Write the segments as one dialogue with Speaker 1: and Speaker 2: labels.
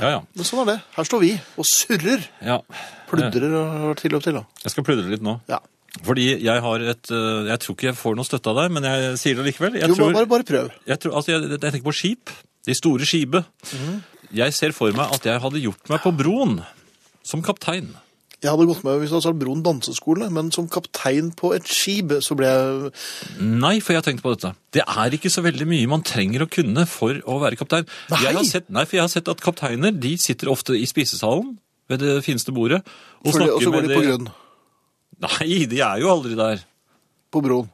Speaker 1: Ja, ja.
Speaker 2: Men sånn er det. Her står vi og surrer.
Speaker 1: ja. Eh,
Speaker 2: Pludrer og har til og til. da.
Speaker 1: Jeg skal pludre litt nå.
Speaker 2: Ja.
Speaker 1: Fordi jeg har et eh, Jeg tror ikke jeg får noe støtte av deg, men jeg sier det likevel. Jeg
Speaker 2: Du må
Speaker 1: tror-
Speaker 2: bare, bare prøve.
Speaker 1: Jeg, tror, altså, jeg, jeg tenker på skip. De store skipet.
Speaker 2: Mhm.
Speaker 1: Jeg ser for meg at jeg hadde gjort meg på broen som kaptein.
Speaker 2: Jeg hadde gått med hvis det hadde sagt Broen danseskole, men som kaptein på et skip så ble jeg
Speaker 1: Nei, for jeg har tenkt på dette. Det er ikke så veldig mye man trenger å kunne for å være kaptein.
Speaker 2: Nei!
Speaker 1: Jeg har sett, nei, for jeg har sett at kapteiner de sitter ofte i spisesalen ved det fineste bordet og
Speaker 2: fordi, Og så
Speaker 1: snakker
Speaker 2: går
Speaker 1: med
Speaker 2: de på grønn.
Speaker 1: Nei, de er jo aldri der.
Speaker 2: På Broen.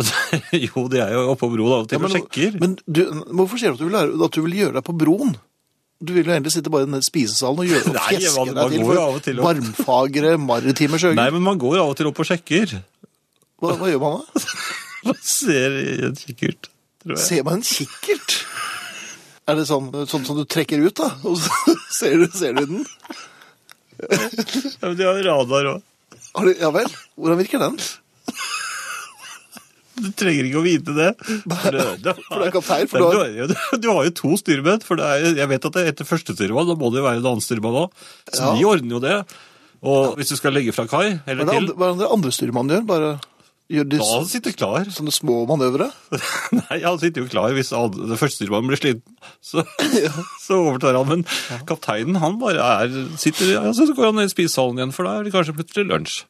Speaker 1: jo, de er jo oppe på broen av og til og sjekker.
Speaker 2: men du, men hvorfor sier du at du, vil, lære- at du vil gjøre deg på Broen? Du vil jo egentlig sitte bare nede i spisesalen og gjøre og
Speaker 1: Nei,
Speaker 2: fjeske
Speaker 1: man- man
Speaker 2: deg til
Speaker 1: går jo av og til
Speaker 2: for
Speaker 1: opp.
Speaker 2: varmfagre maritime sjøgutter.
Speaker 1: Nei, men man går av og til opp og sjekker.
Speaker 2: Hva, hva gjør man da?
Speaker 1: Man ser i en kikkert, tror jeg.
Speaker 2: Ser man en kikkert? Er det sånn, sånn som du trekker ut, da? Og så ser du, ser du den?
Speaker 1: Ja, men de har radar òg.
Speaker 2: Har du, ja vel? Hvordan virker den?
Speaker 1: Du trenger ikke å vite det. For det,
Speaker 2: for det er kaptein, for
Speaker 1: Nei,
Speaker 2: du
Speaker 1: du, har... jo- du har jo to styrmenn. for det er, Jeg vet at det er etter første styrmann, da må det jo være en annen styrmann òg. Så
Speaker 2: Ja.
Speaker 1: de ordner jo det. Og hvis du skal legge fra kai,
Speaker 2: Hva
Speaker 1: eller
Speaker 2: er det
Speaker 1: til,
Speaker 2: andre, hva er det andre styrmannen gjør? Bare gjør de
Speaker 1: da
Speaker 2: s-
Speaker 1: han sitter klar.
Speaker 2: sånne små manøvre?
Speaker 1: Nei, han sitter jo klar hvis han, den første styrmannen blir sliten. Så, så overtar han. Men kapteinen, han bare er sitter, ja, Så går han ned i spisesalen igjen, for da er det kanskje plutselig lunsj.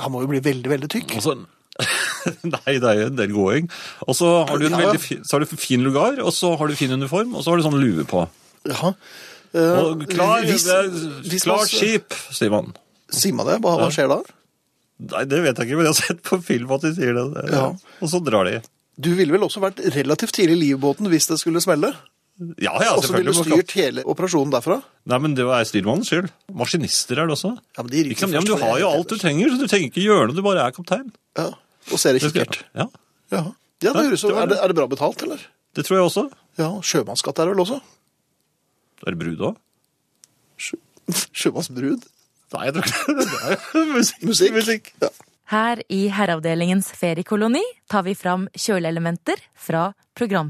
Speaker 2: Han må jo bli veldig, veldig tykk.
Speaker 1: Og så... Nei, det er jo en del gåing. Og så har du en
Speaker 2: Ja, ja.
Speaker 1: veldig fin, så har du fin lugar, og så har du fin uniform, og så har du sånn lue på.
Speaker 2: Jaha. Eh,
Speaker 1: Og klar,
Speaker 2: hvis-
Speaker 1: det er
Speaker 2: hvis man-
Speaker 1: klar skip, sier man.
Speaker 2: Sier man det? Hva, hva skjer da?
Speaker 1: Nei, det vet jeg ikke, men jeg har sett på film at de sier det. Det-
Speaker 2: Ja.
Speaker 1: Og så drar de.
Speaker 2: Du ville vel også vært relativt tidlig i livbåten hvis det skulle smelle?
Speaker 1: Ja, ja,
Speaker 2: Og så
Speaker 1: selvfølgelig.
Speaker 2: ville du
Speaker 1: man kan-
Speaker 2: styrt hele operasjonen derfra?
Speaker 1: Nei, men det er styrmannens skyld. Maskinister er det også.
Speaker 2: Ja, men de ryker
Speaker 1: Ikke sant? Ja, men
Speaker 2: først
Speaker 1: du
Speaker 2: for
Speaker 1: har jo
Speaker 2: helvete.
Speaker 1: alt du trenger, så du trenger ikke gjøre noe, du bare er kaptein.
Speaker 2: Ja. Og ser det
Speaker 1: Det skal-
Speaker 2: kikkert?
Speaker 1: Ja,
Speaker 2: Ja. ja det
Speaker 1: Nei,
Speaker 2: høres jo-
Speaker 1: det var
Speaker 2: er, det,
Speaker 1: det.
Speaker 2: er det bra betalt, eller?
Speaker 1: det tror jeg også.
Speaker 2: Ja, sjømannsskatt er det vel også?
Speaker 1: Er det brud også?
Speaker 2: Sjø, sjømannsbrud?
Speaker 1: Nei, jeg tror ikke det. Det er jo musikk.
Speaker 2: Musikk? Ja.
Speaker 3: Her i Herreavdelingens feriekoloni tar vi fram kjøleelementer fra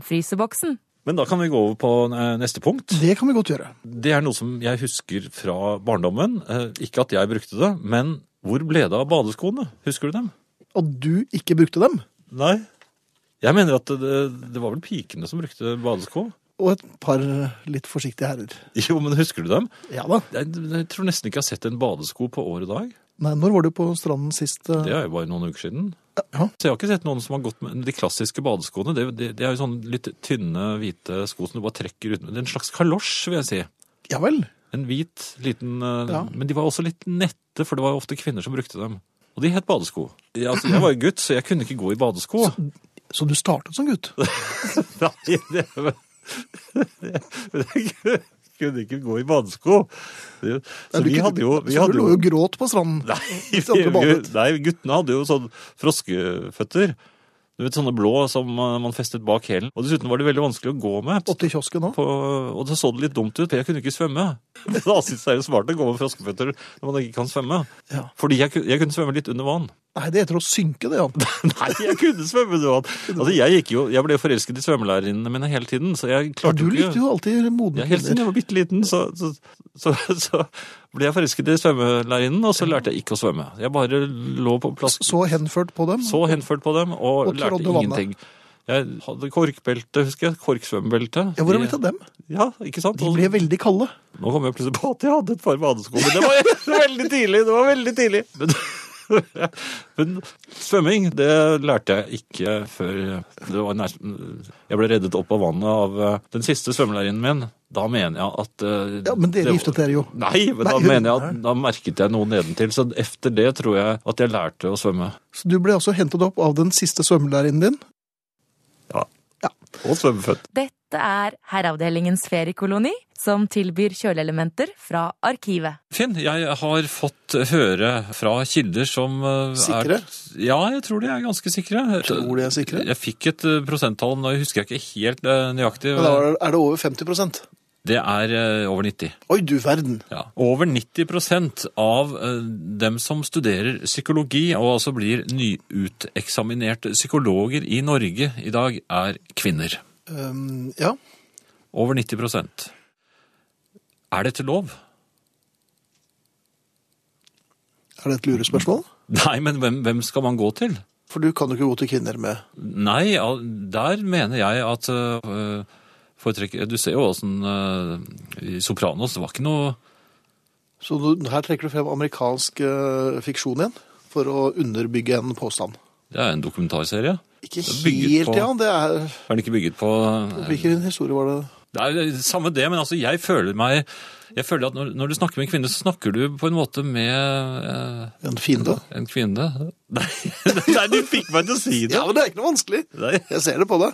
Speaker 3: programfryseboksen.
Speaker 1: Men da kan vi gå over på eh, neste punkt.
Speaker 2: Det kan vi godt gjøre.
Speaker 1: Det er noe som jeg husker fra barndommen. Eh, Ikke at jeg brukte det, men hvor ble det av badeskoene? Husker du dem?
Speaker 2: Og du ikke brukte dem?
Speaker 1: Nei. Jeg mener at det, det var vel pikene som brukte badesko.
Speaker 2: Og et par litt forsiktige herrer.
Speaker 1: Jo, men husker du dem?
Speaker 2: Ja da.
Speaker 1: Jeg, jeg tror nesten ikke jeg har sett en badesko på år og dag.
Speaker 2: Nei, når var du på stranden sist? eh?
Speaker 1: Det er jo bare noen uker siden.
Speaker 2: Ja.
Speaker 1: Så jeg har ikke sett noen som har gått med de klassiske badeskoene. Det, det, det er jo sånne litt tynne, hvite sko som du bare trekker ut. Det er en slags kalosj, vil jeg si.
Speaker 2: ja vel.
Speaker 1: En hvit, liten eh,
Speaker 2: Ja.
Speaker 1: Men de var også litt nette, for det var jo ofte kvinner som brukte dem. Og de het badesko. Jeg, altså, jeg var jo gutt, så jeg kunne ikke gå i badesko.
Speaker 2: Så du startet som gutt?
Speaker 1: Nei, det, det, det kunne ikke gå i badesko. Det, så
Speaker 2: du
Speaker 1: vi
Speaker 2: kunne-
Speaker 1: hadde jo, vi
Speaker 2: så
Speaker 1: hadde
Speaker 2: du lå
Speaker 1: jo
Speaker 2: jo og gråt på stranden?
Speaker 1: Nei, vi,
Speaker 2: Hvis andre badet.
Speaker 1: nei, guttene hadde jo sånn froskeføtter. Du vet, Sånne blå som eh, man festet bak hælen. Og dessuten var det veldig vanskelig å gå med.
Speaker 2: Opp til kiosken nå?
Speaker 1: På, og det så det litt dumt ut, for jeg kunne ikke svømme. Da synes jeg det er smart å gå med froskeføtter når man ikke kan svømme.
Speaker 2: Ja.
Speaker 1: Fordi jeg, ku- jeg kunne svømme litt under vann.
Speaker 2: Nei, det heter å synke det, Jan.
Speaker 1: Nei, jeg kunne svømme under vann! Altså, jeg, gikk jo, jeg ble jo forelsket i svømmelærerinnene mine hele tiden, så jeg
Speaker 2: Ja,
Speaker 1: klarte
Speaker 2: du
Speaker 1: ikke-
Speaker 2: likte jo alltid modne
Speaker 1: ja, Helt siden jeg var bitte liten, så, så, så, så ble jeg forelsket i svømmelærerinnen, og så lærte jeg ikke å svømme. Jeg bare lå på plass,
Speaker 2: Så henført på dem.
Speaker 1: så henført på dem, og,
Speaker 2: Og
Speaker 1: lærte
Speaker 2: trådde vannet.
Speaker 1: ingenting. Jeg hadde korkbelte, husker jeg. Korksvømmebelte.
Speaker 2: Ja, Hvordan vet jeg dem?
Speaker 1: Ja, ikke sant?
Speaker 2: De
Speaker 1: Og-
Speaker 2: ble veldig kalde.
Speaker 1: nå kom jeg plutselig på at jeg hadde et par badesko. Men det var veldig tidlig! det var veldig tidlig. Men, men svømming, det lærte jeg ikke før det var nesten, Jeg ble reddet opp av vannet av eh, den siste svømmelærerinnen min. Da mener jeg at eh,
Speaker 2: Ja, Men dere
Speaker 1: det-
Speaker 2: giftet dere jo.
Speaker 1: Nei, men da
Speaker 2: Nei, hun-
Speaker 1: mener jeg at da merket jeg noe nedentil. Så efter det tror jeg at jeg lærte å svømme.
Speaker 2: Så du ble altså hentet opp av den siste svømmelæreren din.
Speaker 1: Og svømmefødt.
Speaker 3: Dette er Herreavdelingens feriekoloni, som tilbyr kjøleelementer fra arkivet.
Speaker 1: Finn, jeg har fått høre fra kilder som eh,
Speaker 2: Sikre?
Speaker 1: Er, ja, jeg tror de er ganske sikre.
Speaker 2: Tror de er sikre?
Speaker 1: Jeg fikk et eh, prosenttall, nå husker jeg ikke helt eh, nøyaktig.
Speaker 2: Men da er- er det over 50
Speaker 1: Det er eh, over 90.
Speaker 2: Oi, du verden.
Speaker 1: Ja. Over 90 prosent av eh, dem som studerer psykologi, og altså blir nyuteksaminerte psykologer i Norge i dag, er kvinner.
Speaker 2: Um, ja.
Speaker 1: Over 90 prosent. Er dette lov?
Speaker 2: Er det et lurespørsmål?
Speaker 1: Nei, men hvem, hvem skal man gå til?
Speaker 2: For du kan jo ikke gå til kvinner med
Speaker 1: Nei, al- der mener jeg at øh, foretrekker- Du ser jo åssen øh, I Sopranos det var ikke noe
Speaker 2: Så du, her trekker du frem amerikansk eh, fiksjon igjen, for å underbygge en påstand.
Speaker 1: Det er en dokumentarserie.
Speaker 2: Ikke
Speaker 1: er bygget
Speaker 2: helt,
Speaker 1: på-
Speaker 2: ja. Det er
Speaker 1: Er den ikke bygget på øh,
Speaker 2: Hvilken historie var det?
Speaker 1: Det er jo samme det, men altså, jeg føler meg jeg føler at når, når du snakker med en kvinne, så snakker du på en måte med øh,
Speaker 2: En fiende?
Speaker 1: en kvinne. Nei, nei, du fikk meg til å si det!
Speaker 2: Ja, men det er ikke noe vanskelig.
Speaker 1: Nei.
Speaker 2: Jeg ser det på deg.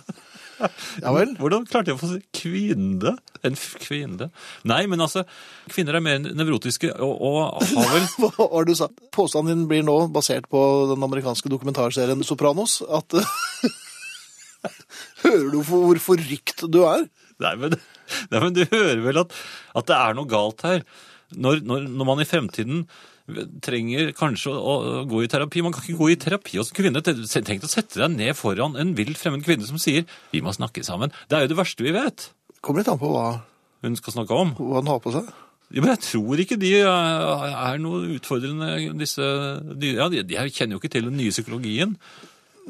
Speaker 2: Ja vel.
Speaker 1: Hvordan klarte jeg å få si kvinne? En f- kvinne? Nei, men altså, kvinner er mer nevrotiske og, og har vel
Speaker 2: Hva var det du sa? Påstanden din blir nå basert på den amerikanske dokumentarserien Sopranos. At eh, Hører du for hvor forrykt du er?
Speaker 1: Nei, men, nei, men du hører vel at, at det er noe galt her. Når, når, når man i fremtiden trenger kanskje å, å gå i terapi. Man kan ikke gå i terapi hos en kvinne. Tenk å sette deg ned foran en vill fremmed kvinne som sier 'vi må snakke sammen'. Det er jo det verste vi vet
Speaker 2: Kommer litt an på hva,
Speaker 1: hun skal snakke om.
Speaker 2: hva han har på seg.
Speaker 1: Ja, men jeg tror ikke de eh, er noe utfordrende, disse de, ja, de, de kjenner jo ikke til den nye psykologien.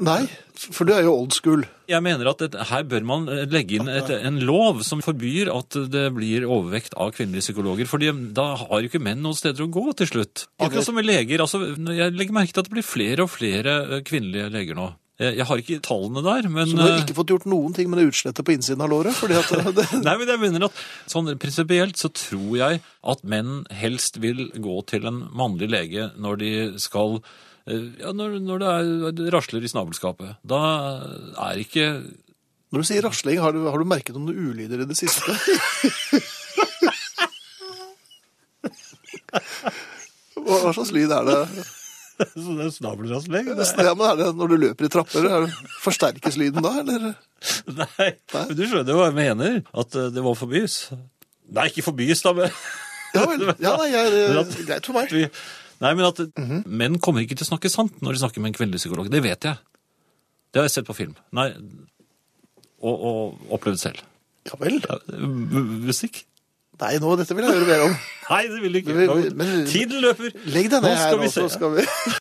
Speaker 2: Nei, for du er jo old school.
Speaker 1: Jeg mener at et, her bør man eh, legge inn et, en lov som forbyr at det blir overvekt av kvinnelige psykologer, fordi da har jo ikke menn noen steder å gå til slutt. Akkurat som med leger. altså når Jeg legger merke til at det blir flere og flere eh, kvinnelige leger nå. Jeg, jeg har ikke tallene der, men
Speaker 2: Så du har
Speaker 1: eh,
Speaker 2: ikke fått gjort noen ting med det utslettet på innsiden av låret? fordi at det, det,
Speaker 1: Nei, men jeg mener at sånn prinsipielt så tror jeg at menn helst vil gå til en mannlig lege når de skal eh, ja, når, når det er, det rasler i snabelskapet. Da er ikke
Speaker 2: Når du sier rasling, har du, har du merket om du ulyder i det siste? Hva hva slags lyd er det?
Speaker 1: Sånn snabelrasling?
Speaker 2: Ja, men er det når du løper i trapper? Er det, forsterkes lyden da, eller?
Speaker 1: Nei, men du skjønner jo hva jeg mener. At eh, det må forbys. Nei, ikke forbys, da, men
Speaker 2: Ja vel. Ja, nei, jeg, det
Speaker 1: Men
Speaker 2: er greit for meg.
Speaker 1: vi- Nei, men at
Speaker 2: Mhm.
Speaker 1: menn kommer ikke til å snakke sant når de snakker med en kvinnelig psykolog. Det vet jeg. Det har jeg sett på film. Nei, og, og opplevd selv. Eh,
Speaker 2: Ja vel.
Speaker 1: Ja, m- Musikk?
Speaker 2: Nei, nå, dette vil jeg høre mer om.
Speaker 1: Nei, det vil jeg ikke.
Speaker 2: Men- men-
Speaker 1: Tiden løper.
Speaker 2: Legg deg
Speaker 1: Nå
Speaker 2: ned
Speaker 1: skal
Speaker 2: her,
Speaker 1: vi
Speaker 2: og så
Speaker 1: se.
Speaker 2: skal vi